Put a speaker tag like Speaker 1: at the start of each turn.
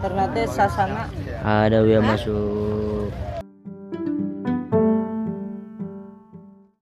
Speaker 1: Ternate sasana
Speaker 2: ada wia masuk